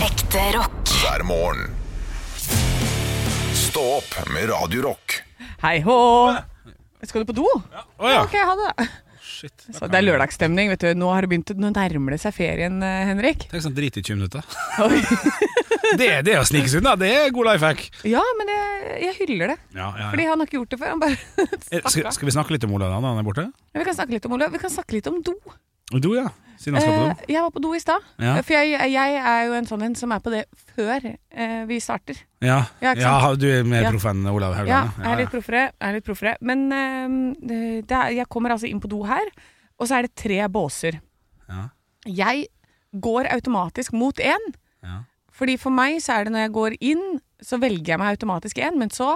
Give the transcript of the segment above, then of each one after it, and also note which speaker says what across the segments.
Speaker 1: Ekte rock.
Speaker 2: hver morgen. Stå opp med Radio Rock.
Speaker 3: Hei hå! Skal du på do?
Speaker 4: Å ja.
Speaker 3: Ok, ha det.
Speaker 4: Shit.
Speaker 3: Så det er lørdagsstemning. vet du. Nå har det begynt, nå nærmer det seg ferien, eh, Henrik.
Speaker 4: Tenk sånn drit i 20 minutter.
Speaker 3: Oi.
Speaker 4: Det, det er å snike seg unna. Det er god life hack.
Speaker 3: Ja, men jeg, jeg hyller det.
Speaker 4: Ja, ja,
Speaker 3: Fordi
Speaker 4: ja.
Speaker 3: han har ikke gjort det før. Han bare
Speaker 4: Eh,
Speaker 3: stakk
Speaker 4: Skal,
Speaker 3: av.
Speaker 4: skal vi snakke litt om Olav da han er borte?
Speaker 3: Ja, Vi kan snakke litt om Olav. Vi kan snakke litt om do.
Speaker 4: Du, ja. Siden han skal på do.
Speaker 3: Eh, jeg var på do i stad.
Speaker 4: Ja.
Speaker 3: For jeg, jeg er jo en sånn en som er på det før eh, vi starter.
Speaker 4: Ja.
Speaker 3: ja, ikke
Speaker 4: ja, du er mer
Speaker 3: Ja.
Speaker 4: proff enn Olav
Speaker 3: Ja,
Speaker 4: Haugland?
Speaker 3: jeg er litt proffere. jeg Er litt proffere. Men eh, det er, jeg kommer altså inn på do her, og så er det tre båser.
Speaker 4: Ja.
Speaker 3: Jeg går automatisk mot én.
Speaker 4: Ja.
Speaker 3: Fordi for meg så er det når jeg går inn, så velger jeg meg automatisk én. Men så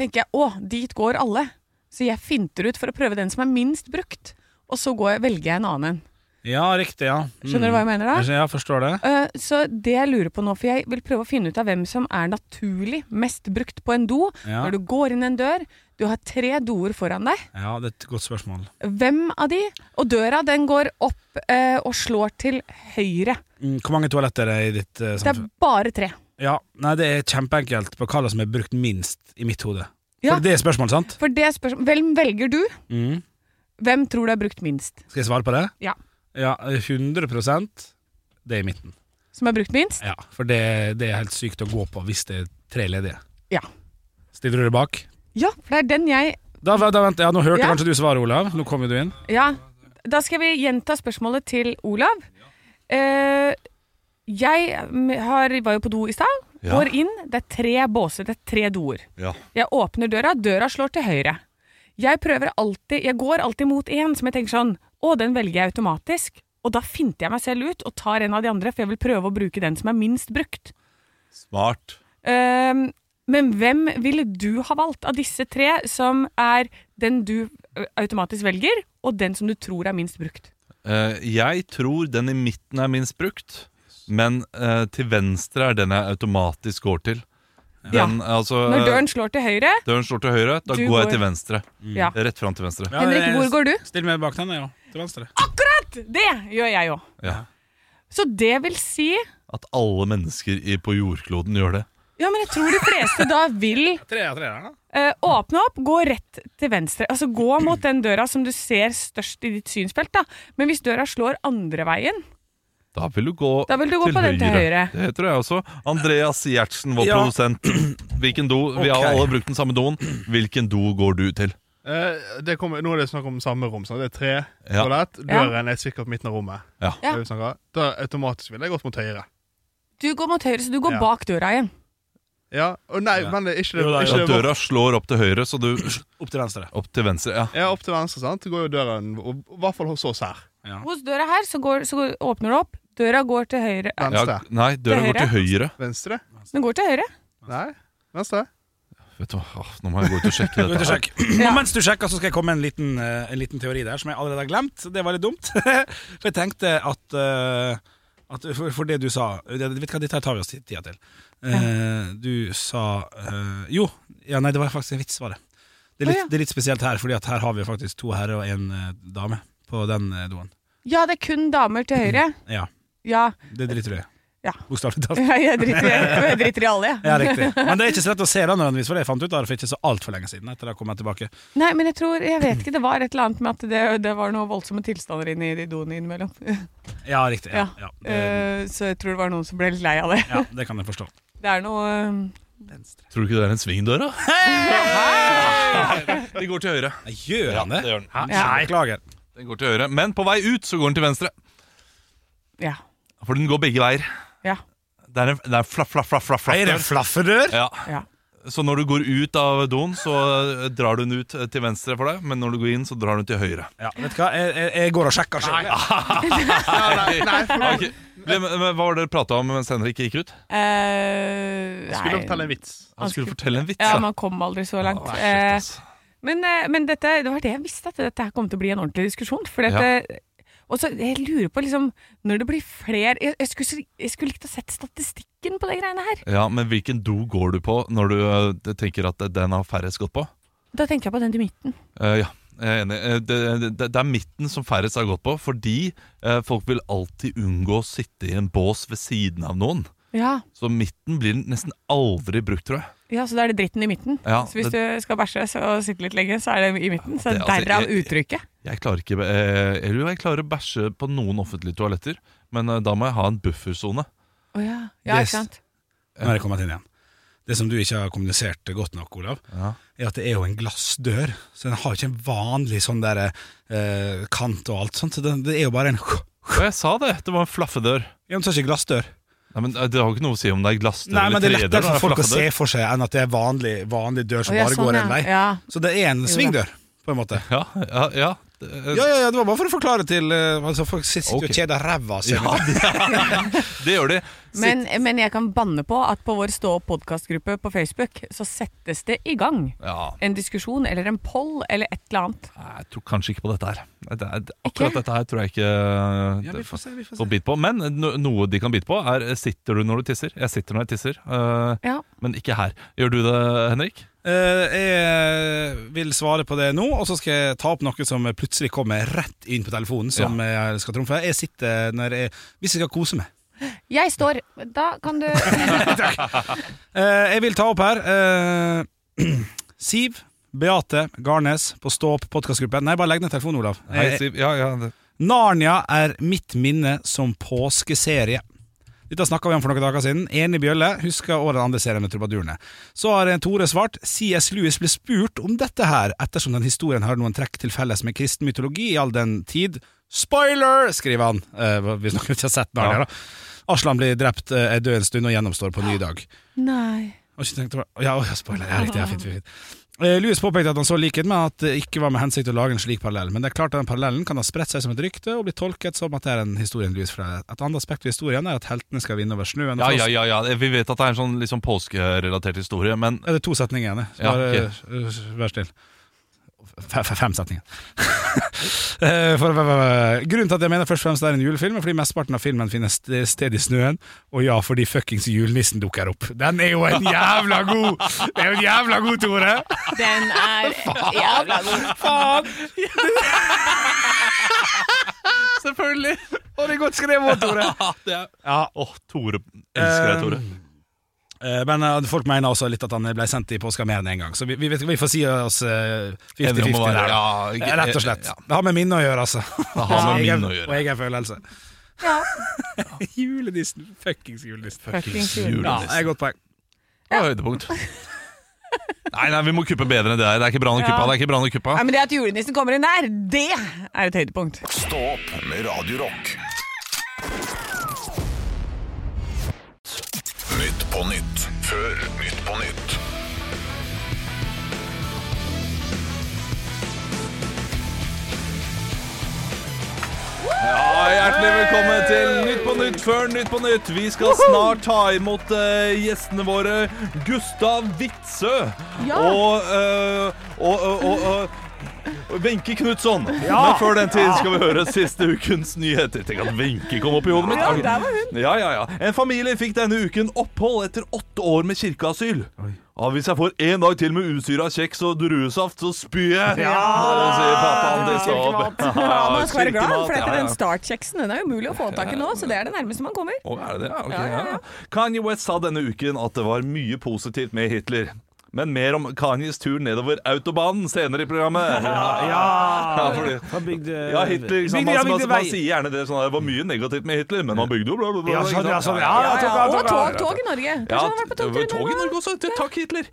Speaker 3: tenker jeg å, dit går alle. Så jeg finter ut for å prøve den som er minst brukt. Og så går jeg, velger jeg en annen en.
Speaker 4: ja, riktig, ja. Mm.
Speaker 3: Skjønner du hva jeg mener da?
Speaker 4: Ja, forstår det.
Speaker 3: Eh, Så det jeg lurer på nå, for jeg vil prøve å finne ut av hvem som er naturlig mest brukt på en do.
Speaker 4: Ja.
Speaker 3: Når du går inn en dør, du har tre doer foran deg.
Speaker 4: Ja, det er et godt spørsmål.
Speaker 3: Hvem av de? Og døra den går opp eh, og slår til høyre.
Speaker 4: Mm, Hvor mange toaletter er det i ditt eh,
Speaker 3: Det er
Speaker 4: samfunn?
Speaker 3: bare tre.
Speaker 4: Ja, nei, det er kjempeenkelt på hva som er brukt minst i mitt hode.
Speaker 3: Ja.
Speaker 4: For det er spørsmålet, sant?
Speaker 3: For det spørsmålet Hvem velger du?
Speaker 4: Mm.
Speaker 3: Hvem tror du er brukt minst?
Speaker 4: Skal jeg svare på det?
Speaker 3: Ja.
Speaker 4: Ja, 100 det er i midten.
Speaker 3: Som er brukt minst?
Speaker 4: Ja, For det, det er helt sykt å gå på hvis det er tre ledige.
Speaker 3: Ja.
Speaker 4: Stiller du deg bak?
Speaker 3: Ja, for det er den jeg
Speaker 4: Da, da, vent, ja, nå hørte
Speaker 3: Ja.
Speaker 4: kanskje du svaret, Olav. Nå kom jo du inn.
Speaker 3: Ja. Da skal vi gjenta spørsmålet til Olav. Eh, jeg mm, har, var jo på do i stad. Går inn, det er tre båser, det er tre doer.
Speaker 2: Ja.
Speaker 3: Jeg åpner døra, døra slår til høyre. Jeg prøver alltid, jeg går alltid mot én som jeg tenker sånn Å, den velger jeg automatisk. Og da finter jeg meg selv ut og tar en av de andre, for jeg vil prøve å bruke den som er minst brukt.
Speaker 5: Smart.
Speaker 3: Ehm, men hvem ville du ha valgt av disse tre som er den du ø, automatisk velger, og den som du tror er minst brukt?
Speaker 5: Eh, jeg tror den i midten er minst brukt, men eh, til venstre er den jeg automatisk går til. Den, altså,
Speaker 3: Når
Speaker 5: eh,
Speaker 3: døren slår til høyre
Speaker 5: døren står til høyre, da
Speaker 3: Du går-
Speaker 5: går
Speaker 3: Mm.
Speaker 5: jeg til venstre.
Speaker 3: Ja.
Speaker 5: Rett fram til venstre.
Speaker 4: Ja,
Speaker 3: Henrik,
Speaker 4: det-
Speaker 3: hvor går du?
Speaker 4: Still meg bak den, ja. Til venstre.
Speaker 3: Det gjør jeg òg.
Speaker 5: Ja.
Speaker 3: Så det vil si
Speaker 5: At alle mennesker i, på jordkloden gjør det.
Speaker 3: Ja, men jeg tror de fleste da vil
Speaker 4: Tre av tre der, da.
Speaker 3: ø, åpne opp, gå rett til venstre. Altså gå mot den døra som du ser størst i ditt synsfelt, da. Men hvis døra slår andre veien
Speaker 5: Da vil du gå,
Speaker 3: Da vil du gå på den til høyre.
Speaker 5: Det tror jeg også. Andreas Gjertsen, vår
Speaker 4: Ja.
Speaker 5: produsent. Hvilken do? Vi har
Speaker 4: Ok.
Speaker 5: alle brukt den samme doen. Hvilken do går du til?
Speaker 6: Eh, det kommer, nå er det snakk om samme rom. Sant? Det er tre
Speaker 5: Ja.
Speaker 6: toalett. Døren er sikkert midten av rommet.
Speaker 5: Ja.
Speaker 6: Det er jo snakk om. Da automatisk ville jeg gått mot høyre.
Speaker 3: Du går mot høyre, så du går
Speaker 6: Ja.
Speaker 3: bak døra igjen.
Speaker 6: Ja, og nei, men det er ikke det,
Speaker 4: Jo, det er
Speaker 6: ikke
Speaker 5: Ja,
Speaker 6: det
Speaker 5: døra slår opp til høyre, så du
Speaker 4: Opp til venstre.
Speaker 5: Opp til venstre, ja.
Speaker 6: Ja, opp til venstre, sant? Så går jo døren og- og I hvert fall hos oss her.
Speaker 3: Hos døra her så, går, så går, åpner det opp. Døra går til høyre. Ja,
Speaker 5: ja.
Speaker 6: Venstre.
Speaker 5: Nei, døra
Speaker 3: Til
Speaker 5: går til høyre.
Speaker 6: Venstre?
Speaker 3: Den går til høyre.
Speaker 6: Nei, venstre.
Speaker 5: Vet du hva, Åh, nå må jeg gå ut og sjekke
Speaker 4: Gå ut og
Speaker 5: dette. her.
Speaker 4: sjekk. Og mens du sjekker, så skal jeg komme med en liten, eh, en liten teori der som jeg allerede har glemt. Det var litt dumt. For jeg tenkte at, eh, at for, for det du sa det, Vet du hva, dette tar vi oss tid- tida til. Eh, du sa eh, Jo, ja, nei, det var faktisk en vits, var det. Det er
Speaker 3: Å,
Speaker 4: litt,
Speaker 3: ja.
Speaker 4: det er litt spesielt her, Fordi at her har vi faktisk to herrer og en eh, dame på den eh, doen.
Speaker 3: Ja, det er kun damer til høyre.
Speaker 4: Ja,
Speaker 3: Ja,
Speaker 4: det driter du i.
Speaker 3: Ja.
Speaker 4: Bokstavelig talt.
Speaker 3: jeg driter, i- jeg driter i alle, jeg.
Speaker 4: Ja, riktig. Men det er ikke så lett å se det nødvendigvis, for det jeg fant ut av det for ikke så altfor lenge siden. Etter det kom jeg tilbake
Speaker 3: Nei, men jeg tror, jeg vet ikke, det var et eller annet med at det, det var noen voldsomme tilstander inne i de doene innimellom.
Speaker 4: Eh, Ja, riktig. Ja,
Speaker 3: Ja.
Speaker 4: ja. Det,
Speaker 3: Eh, så jeg tror det var noen som ble litt lei av det.
Speaker 4: ja, det kan jeg forstå.
Speaker 3: Det er noe
Speaker 5: Tror du ikke det er en svingdør, da? Den går til høyre.
Speaker 4: Nei, Gjør han det?
Speaker 5: det gjør den.
Speaker 4: Hæ?
Speaker 3: Ja.
Speaker 4: Beklager.
Speaker 5: Den går til høyre, Men på vei ut så går den til venstre.
Speaker 3: eh, Ja.
Speaker 5: For den går begge veier.
Speaker 3: Ja.
Speaker 5: Det er en, det er en flaff, flaff, flaff, flaff, flaff
Speaker 4: Er det
Speaker 5: dør.
Speaker 4: flaffedør?
Speaker 5: Ja.
Speaker 3: Ja.
Speaker 5: Så når du går ut av doen, så eh, drar du den ut eh, til venstre for deg. Men når du går inn, så drar du den til høyre.
Speaker 4: Ja, vet du hva? Jeg, jeg, jeg går og sjekker sjøl.
Speaker 6: Nei, nei, for da
Speaker 5: Ok. Men, men, hva var det dere prata om mens Henrik gikk ut?
Speaker 3: Eh,
Speaker 6: skulle jeg fortelle
Speaker 3: nei.
Speaker 6: en vits.
Speaker 5: Han skulle fortelle en vits.
Speaker 3: Ja,
Speaker 5: da.
Speaker 3: man kom aldri så langt.
Speaker 5: Å, shit,
Speaker 3: Eh,
Speaker 5: ass.
Speaker 3: Men, eh, men dette, det var det jeg visste, at dette her kom til å bli en ordentlig diskusjon. For
Speaker 5: Ja.
Speaker 3: dette, Og så jeg lurer på liksom Når det blir flere Jeg, jeg, skulle, så- jeg skulle likt å sett statistikken på de greiene her.
Speaker 5: Ja, Men hvilken do går du på når du eh, tenker at den har færrest gått på?
Speaker 3: Da tenker jeg på den til midten.
Speaker 5: Eh, ja, jeg er enig. Eh, det, det, det er midten som færrest har gått på, fordi eh, folk vil alltid unngå å sitte i en bås ved siden av noen.
Speaker 3: Ja.
Speaker 5: Så midten blir nesten aldri brukt, tror jeg.
Speaker 3: ja, så da er det dritten i midten.
Speaker 5: Ja,
Speaker 3: så hvis du skal bæsje så- og sitte litt lenge, så er det i midten. Så
Speaker 5: Det- altså,
Speaker 3: derav
Speaker 5: jeg-
Speaker 3: uttrykket.
Speaker 5: Jeg klarer ikke eh, Eller jo, jeg klarer å bæsje på noen offentlige toaletter, men eh, da må jeg ha en buffersone.
Speaker 3: Å ja. Ja,
Speaker 4: Yes.
Speaker 3: ikke sant.
Speaker 4: Nå har jeg kommet inn igjen. Det som du ikke har kommunisert godt nok, Olav,
Speaker 5: Ja.
Speaker 4: er at det er jo en glassdør, så den har ikke en vanlig sånn der eh, kant og alt sånt. Så den, det er jo bare en
Speaker 5: Og jeg sa det! Det var en flaffedør.
Speaker 4: Ja, men så er det ikke glassdør.
Speaker 5: Nei, men eh, Det har jo ikke noe å si om det er glassdør
Speaker 4: Nei, men det er
Speaker 5: eller tredør.
Speaker 4: lettere
Speaker 5: det er
Speaker 4: for folk å se
Speaker 5: flaffedør.
Speaker 4: for seg enn at det er vanlig, vanlig dør som
Speaker 3: Å, ja,
Speaker 4: bare går
Speaker 3: sånn,
Speaker 4: en vei.
Speaker 3: Ja.
Speaker 4: Så det er en
Speaker 3: da.
Speaker 4: svingdør, på en måte.
Speaker 5: Ja, ja, ja. Det-
Speaker 4: Ja, ja, ja, det var bare for å forklare til eh, altså, Folk sitter jo
Speaker 5: Eh, Ok.
Speaker 4: og kjeder ræva av seg.
Speaker 5: Ja, det, det gjør de.
Speaker 3: Men, men jeg kan banne på at på vår stå opp podkastgruppe på Facebook så settes det i gang
Speaker 5: Ja,
Speaker 3: en diskusjon eller en poll eller et eller annet.
Speaker 5: Nei, Jeg tror kanskje ikke på dette her. Det er, det,
Speaker 3: Ikke?
Speaker 5: akkurat dette her tror jeg ikke eh,
Speaker 4: Ja,
Speaker 5: det,
Speaker 4: vi får se, vi får
Speaker 5: får
Speaker 4: se.
Speaker 5: bit på. Men no, noe de kan bite på, er eh, sitter du når du tisser? Jeg sitter når jeg tisser, eh,
Speaker 3: Ja.
Speaker 5: men ikke her. Gjør du det, Henrik?
Speaker 4: Eh, jeg vil svare på det nå, og så skal jeg ta opp noe som plutselig kommer rett inn på telefonen. Som jeg skal trumfe. Jeg sitter når jeg Hvis jeg skal kose meg.
Speaker 3: Jeg står. Da kan du
Speaker 4: Eh, jeg vil ta opp her eh, Siv, Beate, Garnes på Stå opp podkastgruppe. Nei, bare legg ned telefonen, Olav.
Speaker 5: Hei,
Speaker 4: Jeg-
Speaker 5: Siv. Ja, ja, det.
Speaker 4: Narnia er mitt minne som påskeserie. Dette snakka vi om for noen dager siden. Enig Bjølle husker også den andre serien med trubadurene. Så har Tore svart CS Lewis ble spurt om dette her, ettersom den historien har noen trekk til felles med kristen mytologi i all den tid. Spoiler, skriver han, eh, hvis noen ikke har sett Narnia,
Speaker 5: Ja.
Speaker 4: da. Aslan blir drept, eh, er død en stund og gjennomstår på en ny dag.
Speaker 3: Nei.
Speaker 4: Og ikke tenkte bare, ja, ja, spoiler, ja, riktig, ja, fint, fint, fint. Eh, Lewis påpekte at han så likhet med at det ikke var med hensikt å lage en slik parallell, men det er klart at den parallellen kan ha spredt seg som et rykte og bli tolket som at det er en historien Lewis fra Et annet aspekt ved historien er at heltene skal vinne over snøen. og
Speaker 5: ja, ja,
Speaker 4: frosten.
Speaker 5: ja, ja. Vi vet at det er en sånn liksom, påskerelatert historie, men
Speaker 4: Er det to setninger igjen? Så
Speaker 5: Ja,
Speaker 4: Bare, eh, Vær still. F f- fem setninger. Eh, for, for, for, grunnen til at jeg mener først og fremst det er en julefilm, er fordi mesteparten av filmen finner st- sted i snøen, og ja, fordi fuckings julenissen dukker opp. Den er jo en jævla god! Det er jo en jævla god, Tore!
Speaker 3: Den er jævla god.
Speaker 4: Faen!
Speaker 5: Selvfølgelig!
Speaker 4: Og det er godt skrevet, Tore.
Speaker 5: Åh,
Speaker 4: Ja.
Speaker 5: Tore. Mm. Elsker deg, Tore.
Speaker 4: Eh, Men eh, folk mener også litt at han ble sendt i påska mer enn én gang, så vi, vi, vet, vi får si oss eh, 50-50
Speaker 5: Enig om å være-
Speaker 4: der. da.
Speaker 5: ja,
Speaker 4: Eh, Rett og slett.
Speaker 5: Ja,
Speaker 4: Det har med minnet å gjøre, altså.
Speaker 5: det har med
Speaker 4: Jeg er-
Speaker 5: min å
Speaker 4: Og
Speaker 5: gjøre.
Speaker 4: jeg er følelse.
Speaker 3: Ja.
Speaker 4: julenissen. Fuckings julenissen.
Speaker 3: Fuckings
Speaker 5: jul.
Speaker 4: Ja, det er et godt poeng.
Speaker 5: Ja, høydepunkt. Nei, nei, vi må kuppe bedre enn det her. Det er ikke bra nok kuppa.
Speaker 3: Ja.
Speaker 5: Det er ikke bra nok kuppa.
Speaker 3: Nei, men det at julenissen kommer inn der, det er et høydepunkt.
Speaker 2: Stå opp med Radio Rock. Nytt på nytt. Før Nytt på nytt.
Speaker 5: Ja, Hjertelig velkommen til Nytt på Nytt før Nytt på Nytt. Vi skal snart ta imot eh, gjestene våre Gustav Witzøe
Speaker 3: Ja.
Speaker 5: og, eh, og, og, og, og Wenche Knutson. Men før den tid skal vi høre siste ukens nyheter. Tenk at Wenche kom opp i hodet mitt.
Speaker 3: Ja, der var hun.
Speaker 5: Ja, ja, ja. En familie fikk denne uken opphold etter åtte år med kirkeasyl. Ja, hvis jeg får en dag til med usyra kjeks og druesaft, så spyr jeg. Ja, det sier pappaen til Saab.
Speaker 3: Ja, man skal være glad, for
Speaker 5: Kirkemat,
Speaker 3: dette
Speaker 5: ja,
Speaker 3: er
Speaker 5: ja.
Speaker 3: den startkjeksen. Den er umulig å få tak i nå, så det er det nærmeste man kommer.
Speaker 5: Å, er det det? Ok,
Speaker 3: Ja, ja, ja.
Speaker 5: ja. Kanye West sa denne uken at det var mye positivt med Hitler. Men mer om Kanyes tur nedover autobanen senere i programmet. Ja,
Speaker 4: Ah,
Speaker 5: fordi-
Speaker 4: Han bygde
Speaker 5: ja Hitler
Speaker 4: Bygde-
Speaker 5: liksom,
Speaker 4: ja,
Speaker 5: man, man,
Speaker 4: bygde
Speaker 5: man,
Speaker 4: vei.
Speaker 5: sier gjerne det sånn, at det var mye negativt med Hitler, men han bygde jo bla, bla, bla.
Speaker 4: Ja,
Speaker 5: ikke
Speaker 4: sånn, ja,
Speaker 5: sant?
Speaker 4: sånn, ja, ja,
Speaker 3: Ja,
Speaker 4: ja,
Speaker 3: og
Speaker 4: ja,
Speaker 3: tog, tog i Norge. Kanskje han har vært på
Speaker 5: det var
Speaker 3: togtur i
Speaker 5: tog i
Speaker 3: Norge?
Speaker 5: Norge også. Det- Takk, Hitler.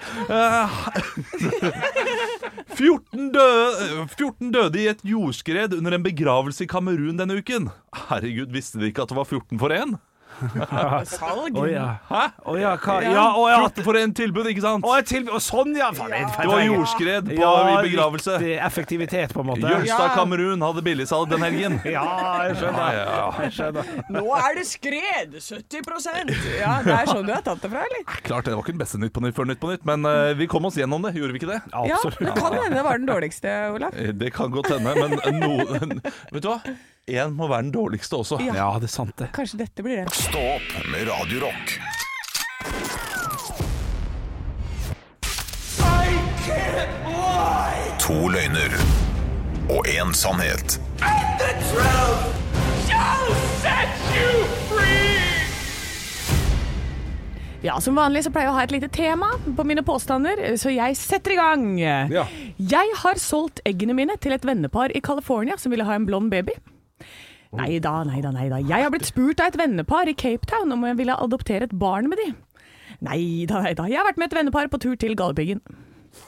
Speaker 5: Eh, 14, døde, 14 døde i et jordskred under en begravelse i Kamerun denne uken. Herregud, visste de ikke at det var 14 for 1?
Speaker 3: Salg.
Speaker 4: Å oh, ja.
Speaker 5: Hæ?
Speaker 4: Å ja, hva? Ja, å ja.
Speaker 5: 14 for 1 tilbud, ikke sant?
Speaker 4: Å, et tilbud. Å, sånn, ja. Faen, det er feil
Speaker 5: Det var
Speaker 4: tegn.
Speaker 5: jordskred på,
Speaker 4: Ja,
Speaker 5: i begravelse.
Speaker 4: riktig effektivitet, på en måte.
Speaker 5: Jølstad
Speaker 3: Ja.
Speaker 5: Kamerun hadde billigsalg den helgen.
Speaker 4: Ja, jeg skjønner.
Speaker 5: ja.
Speaker 4: Jeg skjønner.
Speaker 3: Nå er det skred! 70 Ja, Det er sånn du har tatt det fra, eller?
Speaker 5: Klart det var ikke den beste Nytt på Nytt før Nytt på Nytt, men eh, vi kom oss gjennom det, gjorde vi ikke det?
Speaker 3: Ja, det kan hende det var den dårligste, Olav.
Speaker 5: Eh, Det kan godt hende, men noen Vet du hva? Én må være den dårligste også.
Speaker 3: Ja.
Speaker 4: Ja, det er sant, det.
Speaker 3: Kanskje dette blir det.
Speaker 2: Stå opp med Radio Rock. To løgner og én sannhet.
Speaker 3: Ja, Som vanlig så pleier jeg å ha et lite tema på mine påstander, så jeg setter i gang.
Speaker 4: Ja.
Speaker 3: Jeg har solgt eggene mine til et vennepar i California som ville ha en blond baby. Nei da, nei da, nei da. Jeg har blitt spurt av et vennepar i Cape Town om jeg ville adoptere et barn med de. Nei da, nei da. Jeg har vært med et vennepar på tur til Galdhøpiggen.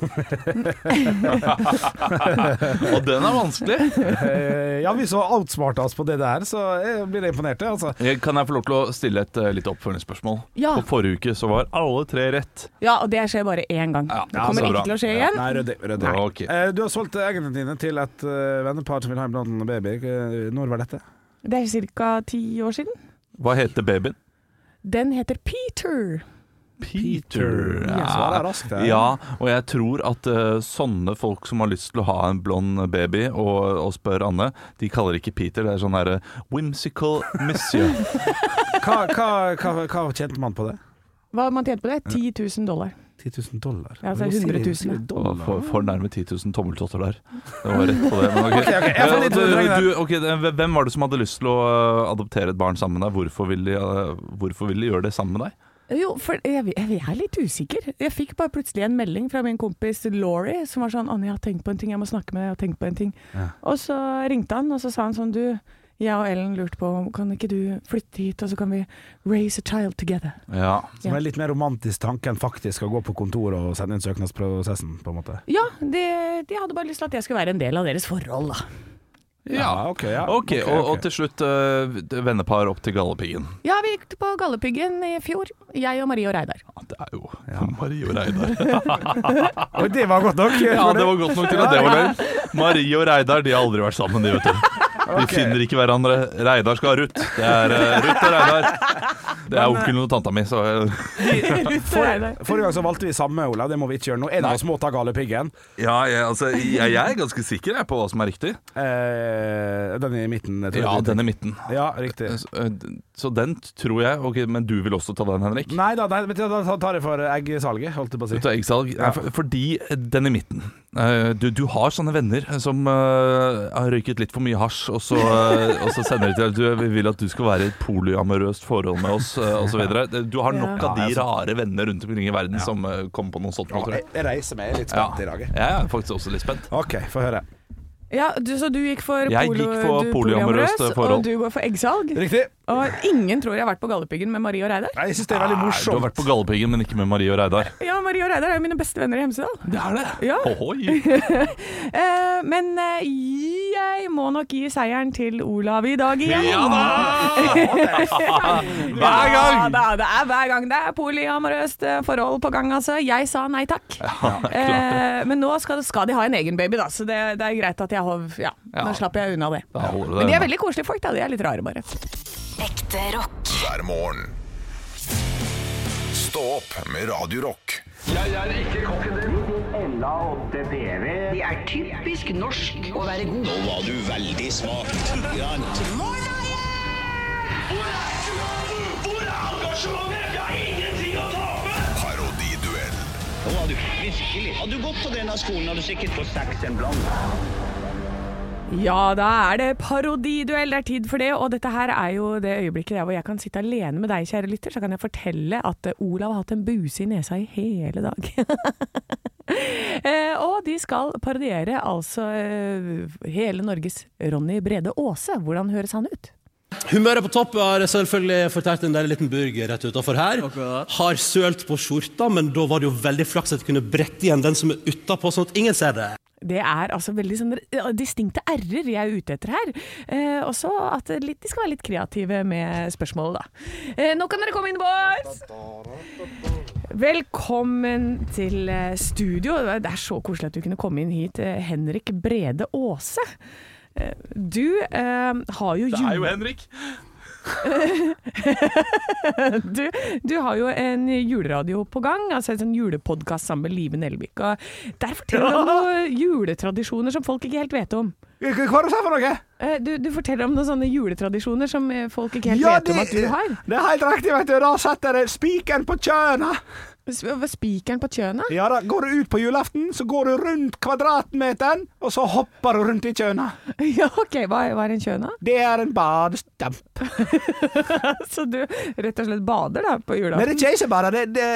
Speaker 5: Og den er vanskelig.
Speaker 1: Eh, ja, vi så outsmarta oss på det der, så jeg blir imponert, jeg, altså.
Speaker 5: Jeg- Eh, Kan jeg få lov til å stille et eh, litt oppfølgingsspørsmål?
Speaker 3: Ja.
Speaker 5: På forrige uke så var alle tre rett.
Speaker 3: Ja, og det skjer bare én gang.
Speaker 5: Ja,
Speaker 3: det
Speaker 5: ja,
Speaker 3: kommer
Speaker 5: så bra.
Speaker 3: ikke til å skje igjen.
Speaker 1: Nei, ryddig. ryddig.
Speaker 5: Ok.
Speaker 1: Eh, du har solgt eggene dine til et eh, vennepar som vil ha en blond baby. Eh, Når var dette?
Speaker 3: Det er ca. ti år siden.
Speaker 5: Hva heter babyen?
Speaker 3: Den heter Peter.
Speaker 5: Peter.
Speaker 1: Svaret er raskt. her.
Speaker 5: Ja, og jeg tror at eh, sånne folk som har lyst til å ha en blond baby og, og spør Anne, de kaller ikke Peter, det er sånn derre whimsical monsieur.
Speaker 1: Hva, hva, hva, hva tjente man på det?
Speaker 3: Hva har man tjent på det? 10 000 dollar.
Speaker 1: 10 000 dollar.
Speaker 3: Ja, altså 100 000, ja.
Speaker 5: Og for, for nærme 10 000 tommeltotter der. Det var rett på det. Men ok.
Speaker 1: jeg får litt
Speaker 5: Du-
Speaker 1: utdrag der.
Speaker 5: du- ok, det- hvem var det som hadde lyst til å eh, adoptere et barn sammen med deg? Hvorfor ville de, eh, hvorfor ville de gjøre det sammen med deg?
Speaker 3: Jo, for jeg, jeg er litt usikker. Jeg fikk bare plutselig en melding fra min kompis Laurie, som var sånn 'Anne, jeg har tenkt på en ting, jeg må snakke med deg, jeg har tenkt på en ting'. Og så ringte han, og så sa han sånn 'Du, jeg og Ellen lurte på om kan ikke du flytte hit, og så kan vi raise a child together'.
Speaker 5: Ja.
Speaker 1: Som er litt mer romantisk tanke enn faktisk å gå på kontoret og sende inn søknadsprosessen, på en måte.
Speaker 3: Ja, de, de hadde bare lyst til at jeg skulle være en del av deres forhold, da.
Speaker 1: Ja, ok, ja.
Speaker 5: Ok,
Speaker 1: Ok,
Speaker 5: og,
Speaker 1: ok.
Speaker 5: og til slutt eh, vennepar opp til Galdhøpiggen.
Speaker 3: Ja, vi gikk på Galdhøpiggen i fjor, jeg og Marie og Reidar.
Speaker 5: Ja, Det er jo Marie og Reidar.
Speaker 1: Oi, det var godt nok.
Speaker 5: Ja, det var godt nok til at det var løgn. Marie og Reidar de har aldri vært sammen, de, vet du. De finner ikke hverandre. Reidar skal ha Ruth. Det er eh, Ruth og Reidar. Det er onkelen og tanta mi, så eh,
Speaker 3: Ruth og Reidar.
Speaker 1: Forrige gang så valgte vi samme, Olav. Det må vi ikke gjøre nå. En av oss må ta galepiggen.
Speaker 5: Ja, jeg, altså, jeg, jeg er ganske sikker jeg, på hva som er riktig.
Speaker 1: Eh, den i midten. jeg tror
Speaker 5: Ja,
Speaker 1: jeg.
Speaker 5: den i midten.
Speaker 1: Ja, riktig.
Speaker 5: Så, eh, d- Så den tror jeg. Ok, Men du vil også ta den, Henrik?
Speaker 1: Nei da, nei, vet du, da tar jeg for eggsalget, holdt jeg på å si.
Speaker 5: Ut av eggsalg? Nei, for- Fordi den i midten. Eh, Du, du har sånne venner som eh, har røyket litt for mye hasj, og så, eh, og så sender de til deg at du vil at du skal være i et polyamorøst forhold med oss, eh, og så videre Du har nok
Speaker 3: Ja.
Speaker 5: av de rare venner rundt omkring i verden som eh, kommer på noe sånt. nå, tror
Speaker 1: Jeg,
Speaker 5: jeg.
Speaker 1: jeg reiser meg jeg er litt
Speaker 5: Ja.
Speaker 1: spent i dag. jeg.
Speaker 5: Jeg er faktisk også litt spent.
Speaker 1: OK, få høre.
Speaker 3: Ja, du, Så du gikk for,
Speaker 5: Jeg
Speaker 3: polo,
Speaker 5: gikk for
Speaker 3: du,
Speaker 5: polyamorøst forhold.
Speaker 3: og du går for eggsalg?
Speaker 1: Riktig.
Speaker 3: Og ingen tror jeg har vært på Galdhøpiggen med Marie og Reidar.
Speaker 1: Nei, Jeg syns det er veldig
Speaker 5: Nei, Du har vært
Speaker 1: morsomt.
Speaker 5: på Galdhøpiggen, men ikke med Marie og Reidar.
Speaker 3: Ja, Marie og Reidar er jo mine beste venner i Hemsedal.
Speaker 5: Det er det!
Speaker 3: Ja.
Speaker 5: Ohoi.
Speaker 3: Eh, men eh, jeg må nok gi seieren til Olav i dag igjen.
Speaker 5: Ja da!
Speaker 3: Hver gang! Ja, da, det er hver gang. Det er polyamorøst eh, forhold på gang, altså. Jeg sa nei takk. eh, men nå skal, skal de ha en egen baby, da, så det, det er greit at jeg har Ja, nå
Speaker 5: Ja.
Speaker 3: slapp jeg unna det.
Speaker 5: Da holder det
Speaker 3: Men de er
Speaker 5: unna.
Speaker 3: veldig koselige folk, da. De er litt rare, bare.
Speaker 7: Ekte rock.
Speaker 2: hver morgen. Stå opp med Radio Rock.
Speaker 8: Ella og DBV. Det er typisk norsk å være god. Nå var du veldig svak.
Speaker 9: Hvor er engasjementet? Jeg har ingenting å tape!
Speaker 2: Parodiduell
Speaker 8: Nå var du virkelig. Hadde du gått på denne skolen, hadde du sikkert fått seks en blant.
Speaker 3: Ja, da er det parodiduell. Det er tid for det. Og dette her er jo det øyeblikket der hvor jeg kan sitte alene med deg, kjære lytter, så kan jeg fortelle at eh, Olav har hatt en buse i nesa i hele dag. Eh, og de skal parodiere altså eh, hele Norges Ronny Brede Aase. Hvordan høres han ut?
Speaker 10: Humøret på topp har selvfølgelig fortært en deilig liten burger rett utafor her. Har sølt på skjorta, men da var det jo veldig flaks at jeg kunne brette igjen den som er utapå, sånn at ingen ser det.
Speaker 3: Det er altså veldig sånne ja, distinkte r-er jeg er ute etter her. Eh, også at det litt, de skal være litt kreative med spørsmålet, da. Eh, nå kan dere komme inn, boys! Velkommen til eh, studio. Det er så koselig at du kunne komme inn hit, eh, Henrik Brede Aase. Eh, Du eh, har jo,
Speaker 5: Det er jo
Speaker 3: jule,
Speaker 5: Henrik.
Speaker 3: du, du har jo en juleradio på gang, altså en sånn julepodkast sammen med Live Nelvik. Og der forteller du om noen juletradisjoner som folk ikke helt vet om.
Speaker 1: Hva var det du sa for noe?
Speaker 3: Eh, Du, du forteller om noen sånne juletradisjoner som eh, folk ikke helt vet om at du har.
Speaker 1: Det er helt riktig, vet du. Da setter jeg spikeren på kjøna.
Speaker 3: Over spikeren på kjønet?
Speaker 4: Ja da, Går du ut på julaften, så går du rundt kvadratmeteren, og så hopper du rundt i kjøna.
Speaker 3: Ja, OK. Hva er, hva er en kjøna?
Speaker 4: Det er en badestamp.
Speaker 3: Så du rett og slett bader da på
Speaker 4: Nei,
Speaker 3: julaften?
Speaker 4: det er ikke jeg som bader. Det, det,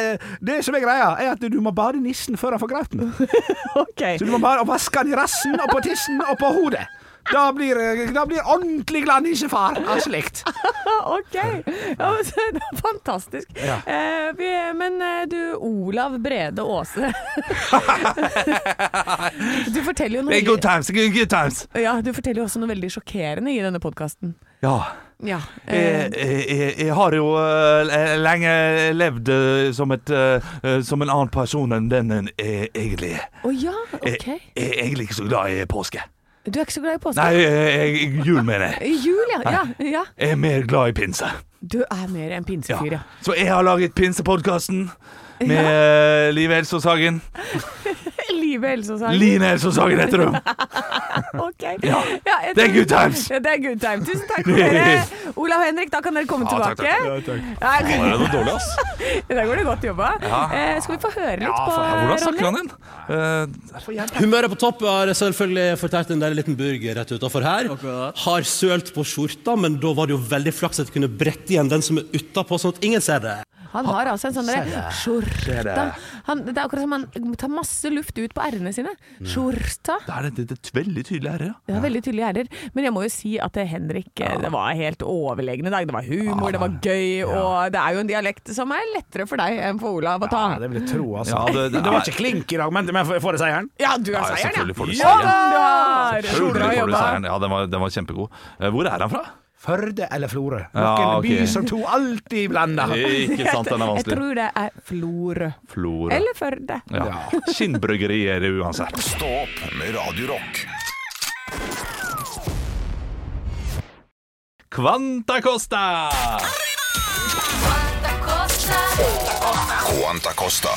Speaker 4: det som er greia, er at du må bade nissen før han får grauten.
Speaker 3: OK.
Speaker 4: Så du må bare vaske han i rassen og på tissen og på hodet. Da blir, da blir ordentlig glad nissefar av slikt.
Speaker 3: ok. Ja, men så er det Fantastisk. Eh, vi, men eh, du, Olav Brede Aase. du forteller jo noe
Speaker 5: Good times, good, good times!
Speaker 3: ja, du forteller jo også noe veldig sjokkerende i denne podkasten.
Speaker 5: Ja.
Speaker 3: Ja.
Speaker 5: Jeg,
Speaker 3: Eh,
Speaker 5: jeg, jeg- jeg har jo eh, lenge levd eh, som, et, eh, som en annen person enn den en eh, egentlig er.
Speaker 3: Å ja, ok.
Speaker 5: Jeg, jeg er egentlig ikke så glad i påske.
Speaker 3: Du er ikke så glad i påske?
Speaker 5: Nei, jeg, jeg, jul mener jeg.
Speaker 3: I Jul, ja. ja, ja.
Speaker 5: Jeg er mer glad i pinse.
Speaker 3: Du er mer en
Speaker 5: Ja.
Speaker 3: pinsefyr, ja.
Speaker 5: Så jeg har laget Pinsepodkasten med eh, Liv Elsås Hagen.
Speaker 3: Live Else og Sagen.
Speaker 5: Line Elsås Hagen heter hun.
Speaker 3: Ok.
Speaker 5: Ja.
Speaker 3: jeg
Speaker 5: Det er
Speaker 3: tror-
Speaker 5: good times.
Speaker 3: Ja, det er good time. Tusen takk for dere. Olav og Henrik, da kan dere komme
Speaker 5: Ja, takk,
Speaker 3: tilbake. Nei,
Speaker 5: Var det noe dårlig, ass?
Speaker 3: Der går det godt jobba.
Speaker 5: Ja.
Speaker 3: Eh, skal vi få høre litt
Speaker 5: Ja,
Speaker 3: på
Speaker 5: faen, hvordan
Speaker 3: Ronny?
Speaker 5: snakker han igjen? Eh,
Speaker 10: Humøret på topp har selvfølgelig fortært en der liten burger rett utenfor her. Har sølt på skjorta, men da var det jo veldig flaks at jeg kunne brette igjen den som er utapå, sånn at ingen ser det.
Speaker 3: Han har altså en sånn derre skjorta. Han, det er akkurat som han tar masse luft ut på r-ene sine.
Speaker 5: Mm.
Speaker 3: Skjorta.
Speaker 5: da er det, det er veldig tydelig herre.
Speaker 3: Det var veldig tydelige gjerder. Men jeg må jo si at eh, Henrik eh, det var helt overlegne i dag. Det var humor, det var gøy, og det er jo en dialekt som er lettere for deg enn for Olav å ta.
Speaker 4: vil jeg tro, altså.
Speaker 5: Ja, det- det-
Speaker 4: det var ikke klink i dag, men, men får jeg seieren?
Speaker 3: Ja, du er
Speaker 5: Ja,
Speaker 3: seieren,
Speaker 5: selvfølgelig får du
Speaker 3: ja!
Speaker 5: seieren.
Speaker 3: Du har
Speaker 5: Selvfølgelig
Speaker 3: bra
Speaker 5: får du
Speaker 3: jobba.
Speaker 5: seieren. Ja, den var, den var kjempegod. Eh, Hvor er han fra?
Speaker 4: Førde eller Florø? Noen
Speaker 5: Ja, ok.
Speaker 4: by som to alltid blander.
Speaker 5: Ikke sant, den
Speaker 3: Jeg
Speaker 5: er vanskelig.
Speaker 3: tror det er Florø.
Speaker 5: Flora.
Speaker 3: Eller Førde.
Speaker 5: Ja. Skinnbryggeri er det uansett.
Speaker 2: Stå opp med Radio Rock.
Speaker 5: Quanta Costa!
Speaker 2: Quanta Costa.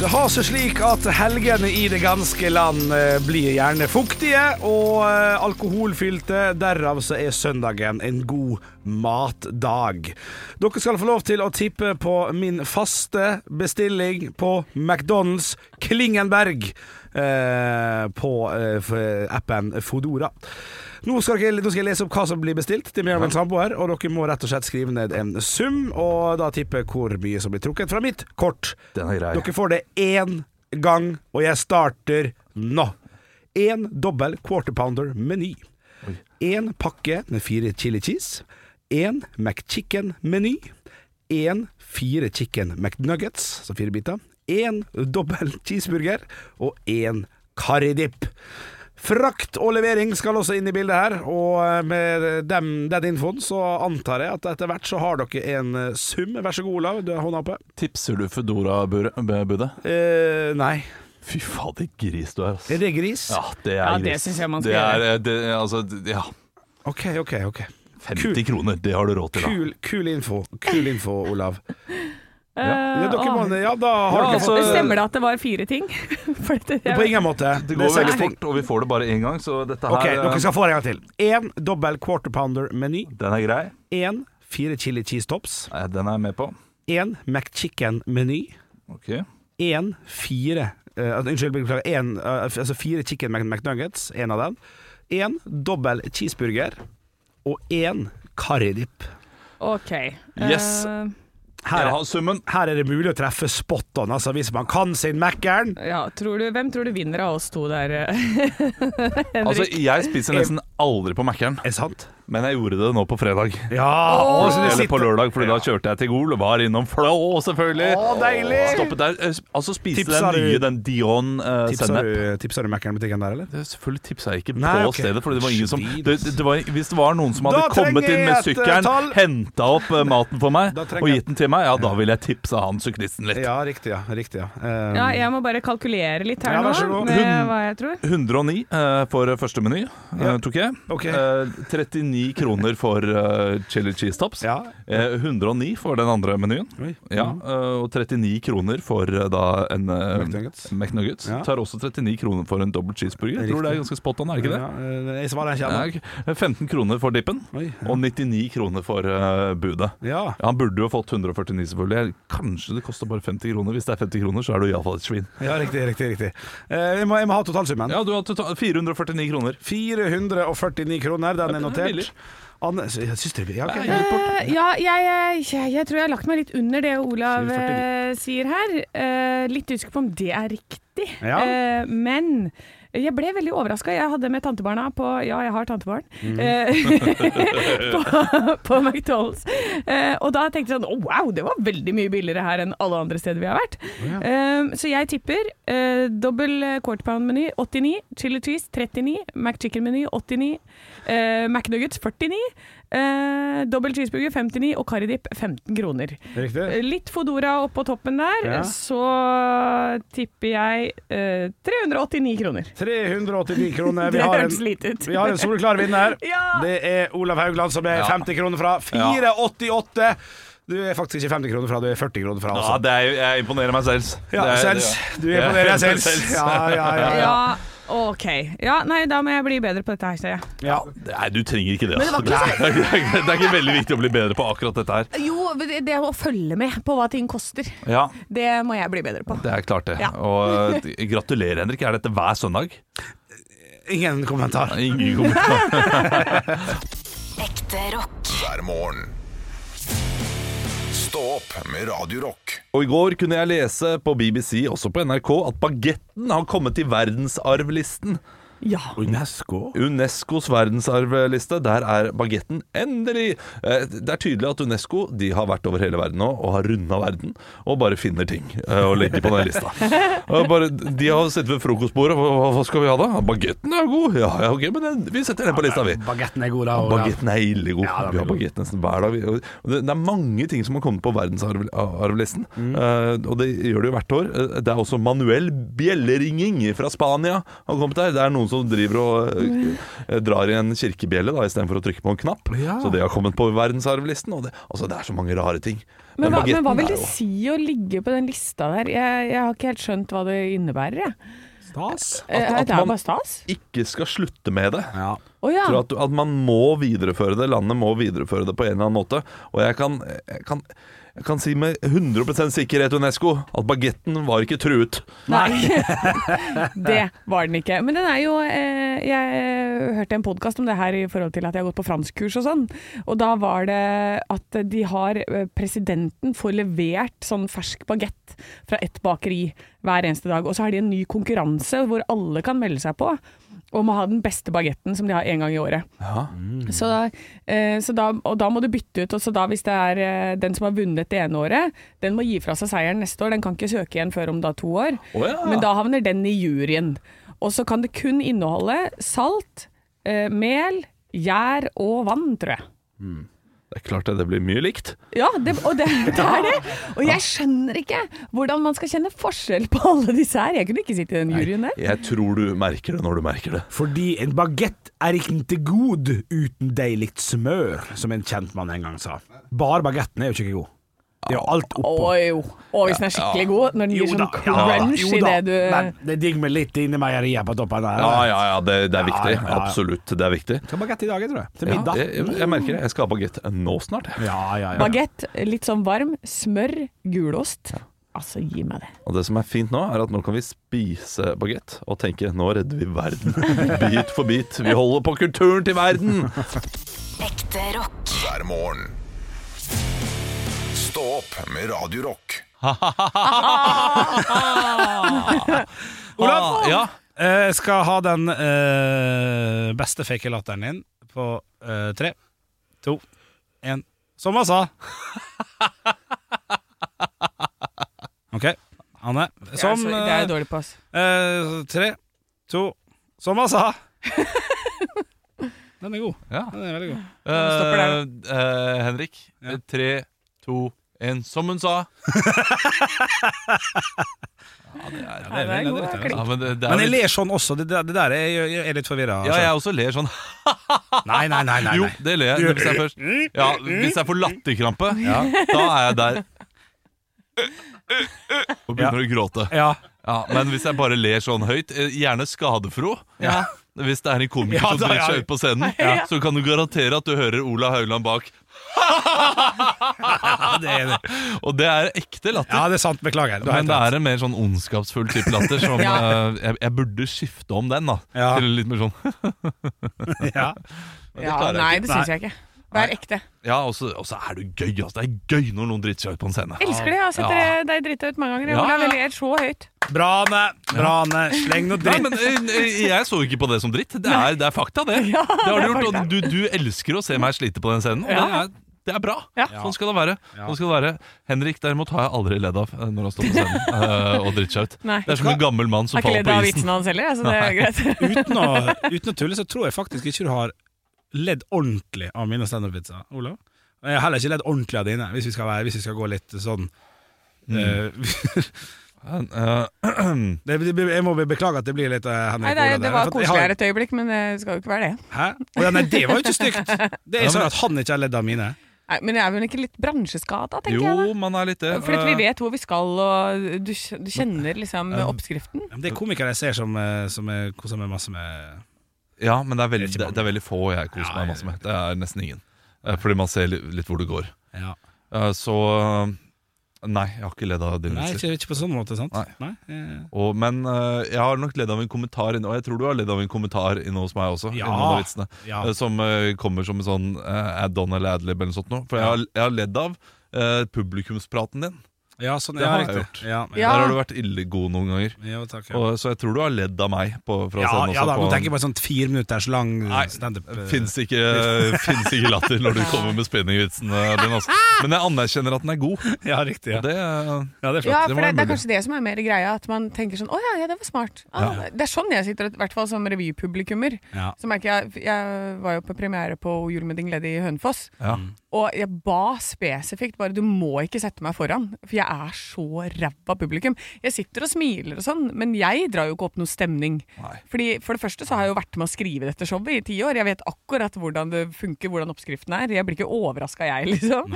Speaker 4: Det har seg slik at helgene i det ganske land eh, blir gjerne fuktige og eh, alkoholfylte. Derav så er søndagen en god matdag. Dere skal få lov til å tippe på min faste bestilling på McDonald's Klingenberg eh, på eh, f- appen Fodora. Nå skal, dere, nå skal jeg lese opp hva som blir bestilt til meg og min samboer, og dere må rett og slett skrive ned en sum, og da tippe hvor mye som blir trukket fra mitt kort.
Speaker 5: Den er grei.
Speaker 4: Dere får det én gang, og jeg starter nå. Én dobbel quarter pounder-meny. Én pakke med fire chili cheese. Én McChicken-meny. Én fire chicken McNuggets, så fire biter. Én dobbel cheeseburger. Og én karridip. Frakt og levering skal også inn i bildet her, og eh, med dem, den infoen så antar jeg at etter hvert så har dere en eh, sum. Vær så god, Olav, du har hånda oppe.
Speaker 5: Tipser du Foodora-budet?
Speaker 4: Eh, nei.
Speaker 5: Fy fader, gris du er, ass.
Speaker 4: Er det gris?
Speaker 5: Ja, det er
Speaker 11: Ja,
Speaker 5: gris.
Speaker 11: det synes jeg man skal
Speaker 5: Det er, eh, det, altså, ja.
Speaker 4: Ok, ok, ok.
Speaker 5: 50 kroner, det har du råd til, da.
Speaker 4: Kul, kul info, kul info, Olav.
Speaker 11: Eh,
Speaker 4: Ja, Ah. dere må,
Speaker 11: åh.
Speaker 4: ja da har
Speaker 5: Ja,
Speaker 4: dere
Speaker 5: altså,
Speaker 4: fått
Speaker 11: Stemmer det at det var fire ting? For det,
Speaker 4: På ingen måte.
Speaker 5: Det
Speaker 4: er
Speaker 5: går
Speaker 4: seks
Speaker 5: veldig
Speaker 4: ting.
Speaker 5: fort, og vi får det bare én gang, så dette her
Speaker 4: Ok,
Speaker 5: eh,
Speaker 4: dere skal få det en gang til. Én dobbel quarter pounder-meny.
Speaker 5: Den er grei.
Speaker 4: Én fire chili cheese tops.
Speaker 5: Eh, Den er jeg med på.
Speaker 4: Én McChicken-meny.
Speaker 5: Ok.
Speaker 4: Én fire eh, altså, Unnskyld, beklager. En, eh, altså fire chicken Mc- McNuggets, én av dem. Én dobbel cheeseburger. Og én karridip.
Speaker 11: Ok.
Speaker 5: Yes.
Speaker 11: Eh,
Speaker 5: Jeg har summen.
Speaker 4: Her er det mulig å treffe spot on, altså, hvis man kan sin Mækkern.
Speaker 11: ja, tror du, hvem tror du vinner av oss to der, eh, Henrik?
Speaker 5: Altså, jeg spiser nesten aldri på Mækkern,
Speaker 4: Er det sant?
Speaker 5: men jeg gjorde det nå på fredag.
Speaker 4: Ja! og så det
Speaker 5: Eller på
Speaker 4: sitter-
Speaker 5: lørdag, Fordi da kjørte jeg til Gol og var innom Flå, selvfølgelig.
Speaker 4: Å, deilig!
Speaker 5: Stoppet der. eh, s- Altså spiste
Speaker 4: Tipsa
Speaker 5: den nye,
Speaker 4: du-
Speaker 5: den Dion uh,
Speaker 4: Tipsa
Speaker 5: sennep.
Speaker 4: du, tipsa du Mækkern-butikken der, eller?
Speaker 5: Det- Selvfølgelig tipsa jeg ikke
Speaker 4: Nei,
Speaker 5: på
Speaker 4: ok.
Speaker 5: stedet, Fordi det var ingen som
Speaker 4: Svid,
Speaker 5: det, det var, Hvis det var noen som hadde
Speaker 4: Da trenger
Speaker 5: kommet inn
Speaker 4: jeg
Speaker 5: med
Speaker 4: et, eh,
Speaker 5: sykkelen,
Speaker 4: tall.
Speaker 5: henta opp eh, maten for meg
Speaker 4: Da trenger
Speaker 5: og
Speaker 4: jeg-
Speaker 5: gitt den til meg, ja, da ville jeg tipsa han syklisten litt.
Speaker 4: Ja, riktig, ja. Riktig, ja. Um,
Speaker 11: ja, jeg må bare kalkulere litt her
Speaker 4: Ja, vær så
Speaker 11: nå,
Speaker 4: god.
Speaker 11: med
Speaker 5: Hun-
Speaker 11: hva jeg tror.
Speaker 5: 109 eh, for første meny eh, tok jeg.
Speaker 4: Ok.
Speaker 5: Eh, 39 109 kroner for eh, chili cheese tops.
Speaker 1: Ja.
Speaker 5: Eh, 109 for den andre menyen.
Speaker 1: Oi.
Speaker 5: Ja, eh, og 39 kroner for eh, da en eh,
Speaker 1: McNuggets.
Speaker 5: McNuggets.
Speaker 1: Ja.
Speaker 5: Tar også 39 kroner for en dobbelt cheeseburger. Jeg tror det er ganske spot on, er det ikke det?
Speaker 1: Ja, eh, jeg svarer ikke
Speaker 5: Ja,
Speaker 1: ennå.
Speaker 5: ok. 15 kroner for dippen,
Speaker 1: Oi, ja.
Speaker 5: og 99 kroner for eh, budet.
Speaker 1: Ja.
Speaker 5: Han burde jo fått 149, selvfølgelig. Kanskje det koster bare 50 kroner. Hvis det er 50 kroner, så er du iallfall et svin.
Speaker 1: ja, riktig. riktig, riktig. Eh, Jeg, må, jeg må ha totalsummen.
Speaker 5: Ja, du har totalt 449 kroner.
Speaker 1: 449 kroner, den er
Speaker 5: det er billig.
Speaker 1: notert. Anne, så jeg syns det blir ja, ok.
Speaker 3: Eh, ja, jeg, jeg, jeg tror jeg har lagt meg litt under det Olav
Speaker 1: 4,49.
Speaker 3: eh, sier her. Eh, litt usikker på om det er riktig.
Speaker 1: Ja.
Speaker 3: Eh, men jeg ble veldig overraska. Jeg hadde med tantebarna på Ja, jeg har tantebarn. eh, på, på McDonald's. Eh, og da tenkte jeg sånn «Å, Wow, det var veldig mye billigere her enn alle andre steder vi har vært. Eh, så jeg tipper eh, dobbel eh, quarter pound-meny 89, chili cheese 39, McChicken-meny 89, eh, McNuggets 49. Eh, Dobbel cheeseburger 59 og karridip 15 kroner.
Speaker 1: Riktig.
Speaker 3: Eh, Litt Fodora oppå toppen der,
Speaker 1: Ja.
Speaker 3: så tipper jeg eh, 389 kroner.
Speaker 1: 389 kroner. Vi
Speaker 3: Det
Speaker 1: har
Speaker 3: hørtes
Speaker 1: en,
Speaker 3: lite ut.
Speaker 1: vi har en soleklar vinner.
Speaker 3: Ja!
Speaker 1: Det er Olav Haugland som er 50 kroner fra. 488! Du er faktisk ikke 50 kroner fra, du er 40 kroner fra.
Speaker 5: Ja,
Speaker 1: Altså.
Speaker 5: det er, jo- jeg imponerer meg selv.
Speaker 1: Ja,
Speaker 5: Det er-
Speaker 1: sels.
Speaker 5: det-
Speaker 1: Du er på dere
Speaker 5: Ja,
Speaker 1: sels.
Speaker 5: sels.
Speaker 1: Ja, ja, ja. ja.
Speaker 3: Ja, OK. Ja, nei, da må jeg bli bedre på dette her, ser jeg.
Speaker 1: ja.
Speaker 5: Nei, du trenger ikke det.
Speaker 7: Men det var
Speaker 5: altså. det, er, ikke- det er ikke veldig viktig å bli bedre på akkurat dette her.
Speaker 7: Jo, det, det å følge med på hva ting koster,
Speaker 5: Ja,
Speaker 7: det må jeg bli bedre på.
Speaker 5: det er klart det.
Speaker 7: Ja.
Speaker 5: Og eh, gratulerer, Henrik. Er dette hver søndag?
Speaker 1: Ingen kommentar.
Speaker 5: Ingen kommentar.
Speaker 12: Ekte rock.
Speaker 2: hver morgen. Stå opp med Radio Rock.
Speaker 5: Og i går kunne jeg lese på BBC, også på NRK, at bagetten har kommet til verdensarvlisten.
Speaker 3: Ja.
Speaker 1: UNESCO?
Speaker 5: UNESCOs verdensarvliste, der er bagetten endelig Eh, Det er tydelig at UNESCO de har vært over hele verden nå og har runda verden og bare finner ting eh, å legge på den lista. Og bare, de har sittet ved frokostbordet og hva, hva skal vi ha da? Bagetten er jo god! Ja, ja, ok, men den, vi setter den på lista, vi.
Speaker 1: Bagetten er god, da. Olav.
Speaker 5: Bagetten er ille god.
Speaker 1: Ja, den er
Speaker 5: vi har
Speaker 1: god.
Speaker 5: bagett nesten hver dag. Vi- og Det, det er mange ting som har kommet på verdensarvlisten,
Speaker 1: Mm.
Speaker 5: eh, og det gjør det jo hvert år. Eh, Det er også manuell bjelleringing fra Spania har kommet der. Det er noen som driver og eh, drar i en kirkebjelle da, istedenfor å trykke på en knapp. Så det har kommet på verdensarvlisten. Og det, altså, det er så mange rare ting.
Speaker 3: Men hva, men
Speaker 5: bagetten
Speaker 3: hva vil
Speaker 5: er
Speaker 3: det
Speaker 5: jo-
Speaker 3: si å ligge på den lista der? Jeg, jeg har ikke helt skjønt hva det innebærer, jeg.
Speaker 1: Stas.
Speaker 3: Eh,
Speaker 5: at
Speaker 3: det er
Speaker 5: man-
Speaker 3: jo bare stas.
Speaker 5: Ikke skal slutte med det.
Speaker 1: Ja.
Speaker 3: Å ja.
Speaker 5: tror at, at man må videreføre det, landet må videreføre det på en eller annen måte. Og jeg kan, jeg kan, jeg kan si med 100 sikkerhet, UNESCO, at bagetten var ikke truet.
Speaker 3: Nei, det var den ikke. Men den er jo eh, Jeg hørte en podkast om det her i forhold til at jeg har gått på franskkurs og sånn. Og da var det at de har eh, Presidenten får levert sånn fersk bagett fra ett bakeri hver eneste dag. Og så har de en ny konkurranse hvor alle kan melde seg på. Om å ha den beste bagetten som de har en gang i året. Så da, eh, så da, og da må du bytte ut. Og så da hvis det er eh, den som har vunnet det ene året, den må gi fra seg seieren neste år. Den kan ikke søke igjen før om da to år.
Speaker 5: Å ja.
Speaker 3: Men da havner den i juryen. Og så kan det kun inneholde salt, eh, mel, gjær og vann, tror jeg.
Speaker 5: Det er klart det, det blir mye likt.
Speaker 3: Ja, det, og det, det er det. Og jeg skjønner ikke hvordan man skal kjenne forskjell på alle disse her. Jeg kunne ikke sitte i den juryen der.
Speaker 5: Jeg tror du merker det når du merker det.
Speaker 1: Fordi en bagett er ikke god uten deilig smør, som en kjent mann en gang sa. Bare bagetten er jo ikke god. Det er jo alt
Speaker 3: Å
Speaker 1: oppå.
Speaker 3: jo. Å, hvis den er skikkelig god, når den gir sånn crunch
Speaker 1: jo
Speaker 3: i
Speaker 1: da.
Speaker 3: det du
Speaker 1: Men det er digg med litt inni meieriet på toppen. Der.
Speaker 5: Ja, ja, ja, det, det er viktig.
Speaker 1: ja, ja.
Speaker 5: Absolutt, det er viktig.
Speaker 1: Skal ha bagett i dag, jeg tror jeg. Til
Speaker 5: Ja,
Speaker 1: middag.
Speaker 5: jeg, jeg- jeg merker det. Jeg skal ha bagett nå snart. jeg.
Speaker 1: Ja, ja, ja.
Speaker 3: Bagett, litt sånn varm, smør, gulost. Altså, gi meg det.
Speaker 5: Og det som er fint nå, er at nå kan vi spise bagett og tenke nå redder vi verden. Bit for bit. Vi holder på kulturen til verden!
Speaker 12: Ekte rock.
Speaker 2: hver morgen. Stå opp med Radio Rock.
Speaker 4: Olav,
Speaker 5: Ah, ja.
Speaker 4: eh, jeg skal ha den eh, beste fake latteren din på eh, tre, to, én Som han sa! OK, Anne. Som
Speaker 3: det er jo dårlig på altså. oss.
Speaker 4: eh, tre, to Som han sa! Den er god.
Speaker 5: Ja.
Speaker 4: Den er veldig god.
Speaker 3: stopper der,
Speaker 5: Eh, eh, Henrik. Tre, to, én. Som hun sa.
Speaker 4: Ja, det er
Speaker 5: god
Speaker 4: det er rett,
Speaker 5: klikk.
Speaker 4: ja.
Speaker 5: Ja, men det- det er
Speaker 4: Men jeg
Speaker 5: litt-
Speaker 4: ler sånn også. Det, der- det der er, jeg, jeg er litt forvirra.
Speaker 5: Ja, jeg også ler sånn.
Speaker 4: Nei, nei, nei, nei, Mm,
Speaker 5: Jo,
Speaker 4: nei.
Speaker 5: det ler jeg. Hvis jeg, først, ja, hvis jeg får latterkrampe,
Speaker 4: Ja.
Speaker 5: da er jeg der. Og begynner å gråte.
Speaker 4: Ja.
Speaker 5: men hvis jeg bare ler sånn høyt, eh, gjerne skadefro
Speaker 4: Ja.
Speaker 5: Hvis det er en komiker
Speaker 4: Ja,
Speaker 5: som
Speaker 4: da,
Speaker 5: driter
Speaker 4: ja.
Speaker 5: seg ut på scenen,
Speaker 4: Ja.
Speaker 5: så kan du garantere at du hører Ola Haugland bak.
Speaker 4: det er det.
Speaker 5: Og det er ekte latter.
Speaker 4: Ja, det er sant. Beklager. Du har
Speaker 5: Men det
Speaker 4: helt rett.
Speaker 5: er en mer sånn ondskapsfull type latter. Som,
Speaker 4: Ja.
Speaker 5: eh, jeg, jeg burde skifte om den da
Speaker 4: Ja.
Speaker 5: til litt mer sånn
Speaker 4: Ja.
Speaker 5: Men
Speaker 3: Ja,
Speaker 5: klarer
Speaker 3: nei,
Speaker 5: ikke.
Speaker 3: det syns jeg ikke. Vær ekte.
Speaker 5: Ja, og så og så er det gøy. Altså. Det er gøy når noen driter seg ut på en scene.
Speaker 3: Elsker det. Jeg har sett
Speaker 5: Ja.
Speaker 3: dere- deg drite ut mange ganger.
Speaker 5: Ja,
Speaker 3: Ola,
Speaker 5: ja.
Speaker 3: vi ler så høyt.
Speaker 4: Bra, Anne. Bra, Anne. Sleng noe
Speaker 5: Nei,
Speaker 4: dritt.
Speaker 5: men eh, eh, Jeg så ikke på det som dritt. Det er, det er fakta, det.
Speaker 3: Ja,
Speaker 5: det har
Speaker 3: det
Speaker 5: du,
Speaker 3: er
Speaker 5: gjort, og du, du elsker å se meg slite på den scenen. Og
Speaker 3: Ja.
Speaker 5: det, er, det er bra.
Speaker 3: Ja.
Speaker 5: Sånn skal det være. Sånn skal det være Henrik derimot har jeg aldri ledd av eh, når han står på scenen eh, og driter seg ut.
Speaker 3: Nei.
Speaker 5: Det er som en gammel mann som
Speaker 3: Har ikke
Speaker 5: faller
Speaker 3: ledd
Speaker 5: på
Speaker 3: av
Speaker 5: isen.
Speaker 3: vitsen hans heller, så det er greit.
Speaker 4: uten, å, uten å tulle så tror jeg faktisk ikke du har ledd ordentlig av mine standup-vitser, Olav. Og Jeg har heller ikke ledd ordentlig av dine, hvis vi skal, være, hvis vi skal gå litt sånn eh, det, det, Jeg må beklage at det blir litt eh,
Speaker 3: Nei,
Speaker 4: Henrik
Speaker 3: det, er- det
Speaker 4: Olav der,
Speaker 3: var
Speaker 4: for at jeg har-
Speaker 3: koseligere et øyeblikk, men eh, det skal jo ikke være det.
Speaker 4: Hæ? Å ja, nei, det var jo ikke stygt! Det er sånn at han ikke har ledd av mine.
Speaker 3: Nei, men jeg er vel ikke litt bransjeskada, tenker jeg.
Speaker 5: Jo, man er litt det.
Speaker 3: da? For at vi vet hvor vi skal, og du, kj- du kjenner liksom
Speaker 5: Eh,
Speaker 3: oppskriften.
Speaker 4: Ja, men Det er komikere jeg ser som, eh, som er- koser meg masse med
Speaker 5: Ja, men det er veldig, det, det er veldig få jeg koser meg masse med. Det er nesten ingen. Eh, Fordi man ser li- litt hvor det går.
Speaker 4: Ja.
Speaker 5: Eh, Så eh, Nei, jeg har ikke ledd av dine
Speaker 4: Nei,
Speaker 5: vitser.
Speaker 4: ikke, ikke på sånn måte, sant? Nei. eh,
Speaker 5: Og, men eh, jeg har nok ledd av en kommentar inne, og jeg tror du har ledd av en kommentar inne hos meg også.
Speaker 4: Ja.
Speaker 5: i noen av vitsene,
Speaker 4: Ja.
Speaker 5: eh, Som eh, kommer som en sånn eh, add-on eller adlib eller noe sånt. Noe. For jeg har, jeg har ledd av eh, publikumspraten din.
Speaker 4: Ja, sånn,
Speaker 5: det
Speaker 4: ja,
Speaker 5: har jeg
Speaker 4: riktig.
Speaker 5: gjort.
Speaker 4: Ja, ja.
Speaker 5: Der har du vært ille god noen ganger.
Speaker 4: Jo, takk, ja.
Speaker 5: og, så jeg tror du har ledd av meg på, fra
Speaker 4: Ja,
Speaker 5: scenen også.
Speaker 4: ja da, nå
Speaker 5: på en-
Speaker 4: tenker jeg på en sånn fire minutters lang standup. eh,
Speaker 5: Fins ikke, finnes ikke latter når du kommer med spinningvitsene dine. Altså. Men jeg anerkjenner at den er god.
Speaker 4: Ja, riktig
Speaker 5: Og det,
Speaker 4: det
Speaker 5: eh,
Speaker 3: Ja, for det, det er kanskje det som er mer greia, at man tenker sånn 'Å ja, ja, det var smart'. Ah,
Speaker 5: Ja.
Speaker 3: Det er sånn jeg sitter, i hvert fall som revypublikummer.
Speaker 5: Ja.
Speaker 3: Så merker jeg Jeg var jo på premiere på Julemiddag Lady i Hønefoss,
Speaker 5: Ja.
Speaker 3: og jeg ba spesifikt bare 'du må ikke sette meg foran', for jeg er så ræva publikum. Jeg sitter og smiler og sånn, men jeg drar jo ikke opp noe stemning. Fordi For det første så har jeg jo vært med å skrive dette showet i ti år. Jeg vet akkurat hvordan det funker, hvordan oppskriften er. Jeg blir ikke overraska, jeg, liksom.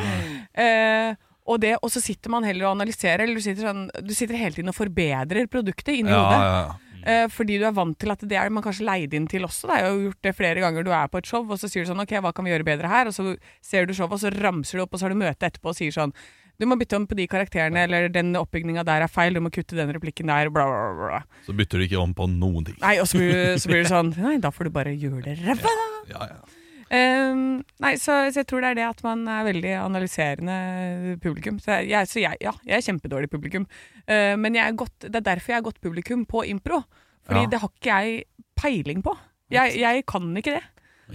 Speaker 3: Eh, og, det, og så sitter man heller og analyserer, eller du sitter, sånn, du sitter hele tiden og forbedrer produktet inni
Speaker 5: Ja,
Speaker 3: hodet.
Speaker 5: ja, ja.
Speaker 3: Eh, fordi du er vant til at det er man kanskje leid inn til også. Da. Jeg har jo gjort det flere ganger. Du er på et show, og så sier du sånn OK, hva kan vi gjøre bedre her? Og så ser du showet, og så ramser du opp, og så har du møte etterpå og sier sånn Du må bytte om på de karakterene, eller den oppbygninga der er feil, du må kutte den replikken der, bla, bla, bla. bla.
Speaker 5: Så bytter du ikke om på noen ting.
Speaker 3: Nei, og så blir, så blir det sånn Nei, da får du bare gjøre det ræva, da.
Speaker 5: Ja, ja.
Speaker 3: Ehm, nei, så, så jeg tror det er det at man er veldig analyserende publikum. Så jeg, så jeg, ja, jeg er kjempedårlig publikum. Eh, men jeg er godt, det er derfor jeg er godt publikum på impro. Fordi
Speaker 5: Ja.
Speaker 3: det har ikke jeg peiling på. Jeg, jeg kan ikke det.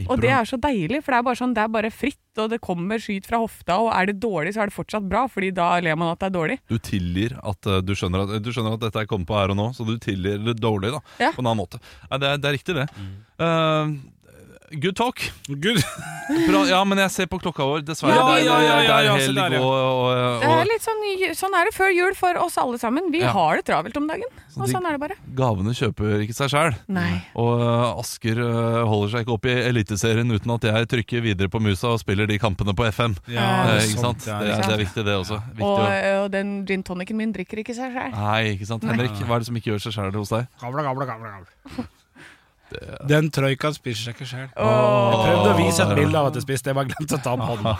Speaker 3: Og det er så deilig, for det er bare sånn, det er bare fritt, og det kommer skyt fra hofta, og er det dårlig, så er det fortsatt bra, fordi da ler man at det er dårlig.
Speaker 5: Du tilgir at eh, du skjønner at, du skjønner at dette er kommet på her og nå, så du tilgir det dårlig da,
Speaker 3: Ja.
Speaker 5: på en annen måte. Nei, det, er, det er riktig, det.
Speaker 4: Mm.
Speaker 5: Eh, good talk. Bra, ja, men jeg ser på klokka vår, dessverre.
Speaker 4: Ja,
Speaker 5: det er,
Speaker 4: ja, ja,
Speaker 5: det er
Speaker 4: ja, ja,
Speaker 5: helg
Speaker 4: se der, ja.
Speaker 5: og, og,
Speaker 3: Det
Speaker 5: og
Speaker 3: er litt sånn, sånn er det før jul for oss alle sammen. Vi
Speaker 5: Ja.
Speaker 3: har det travelt om dagen,
Speaker 5: Så
Speaker 3: og
Speaker 5: det-
Speaker 3: sånn er det bare.
Speaker 5: Gavene kjøper ikke seg sjæl.
Speaker 3: Nei.
Speaker 5: Og eh, Asker eh, holder seg ikke opp i Eliteserien uten at jeg trykker videre på musa og spiller de kampene på FM.
Speaker 4: Ja,
Speaker 5: Eh,
Speaker 4: sånn,
Speaker 5: ikke sant?
Speaker 4: ja,
Speaker 5: Det,
Speaker 4: ikke
Speaker 5: er,
Speaker 4: sant.
Speaker 5: det er viktig, det også. Viktig
Speaker 3: Og,
Speaker 5: å-
Speaker 3: og den gin tonicen min drikker ikke seg selv.
Speaker 5: Nei, ikke sant?
Speaker 3: Nei.
Speaker 5: Henrik, hva er det som ikke gjør seg sjæl hos deg?
Speaker 4: Gamla, gamla, gamla, gamla. Den trøyka spiser seg ikke sjøl.
Speaker 5: Åh.
Speaker 4: Jeg prøvde å vise et bilde av at jeg spiste, jeg bare glemte å ta på hånda.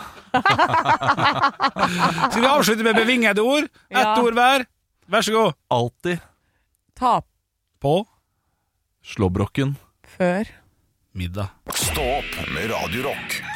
Speaker 4: Skal vi avslutte med bevingede ord? Ett
Speaker 3: Ja.
Speaker 4: ord hver. Vær så god.
Speaker 5: Alltid
Speaker 3: Ta
Speaker 4: På
Speaker 5: slåbroken.
Speaker 3: før
Speaker 4: middag.
Speaker 2: Stå opp med Radio Rock.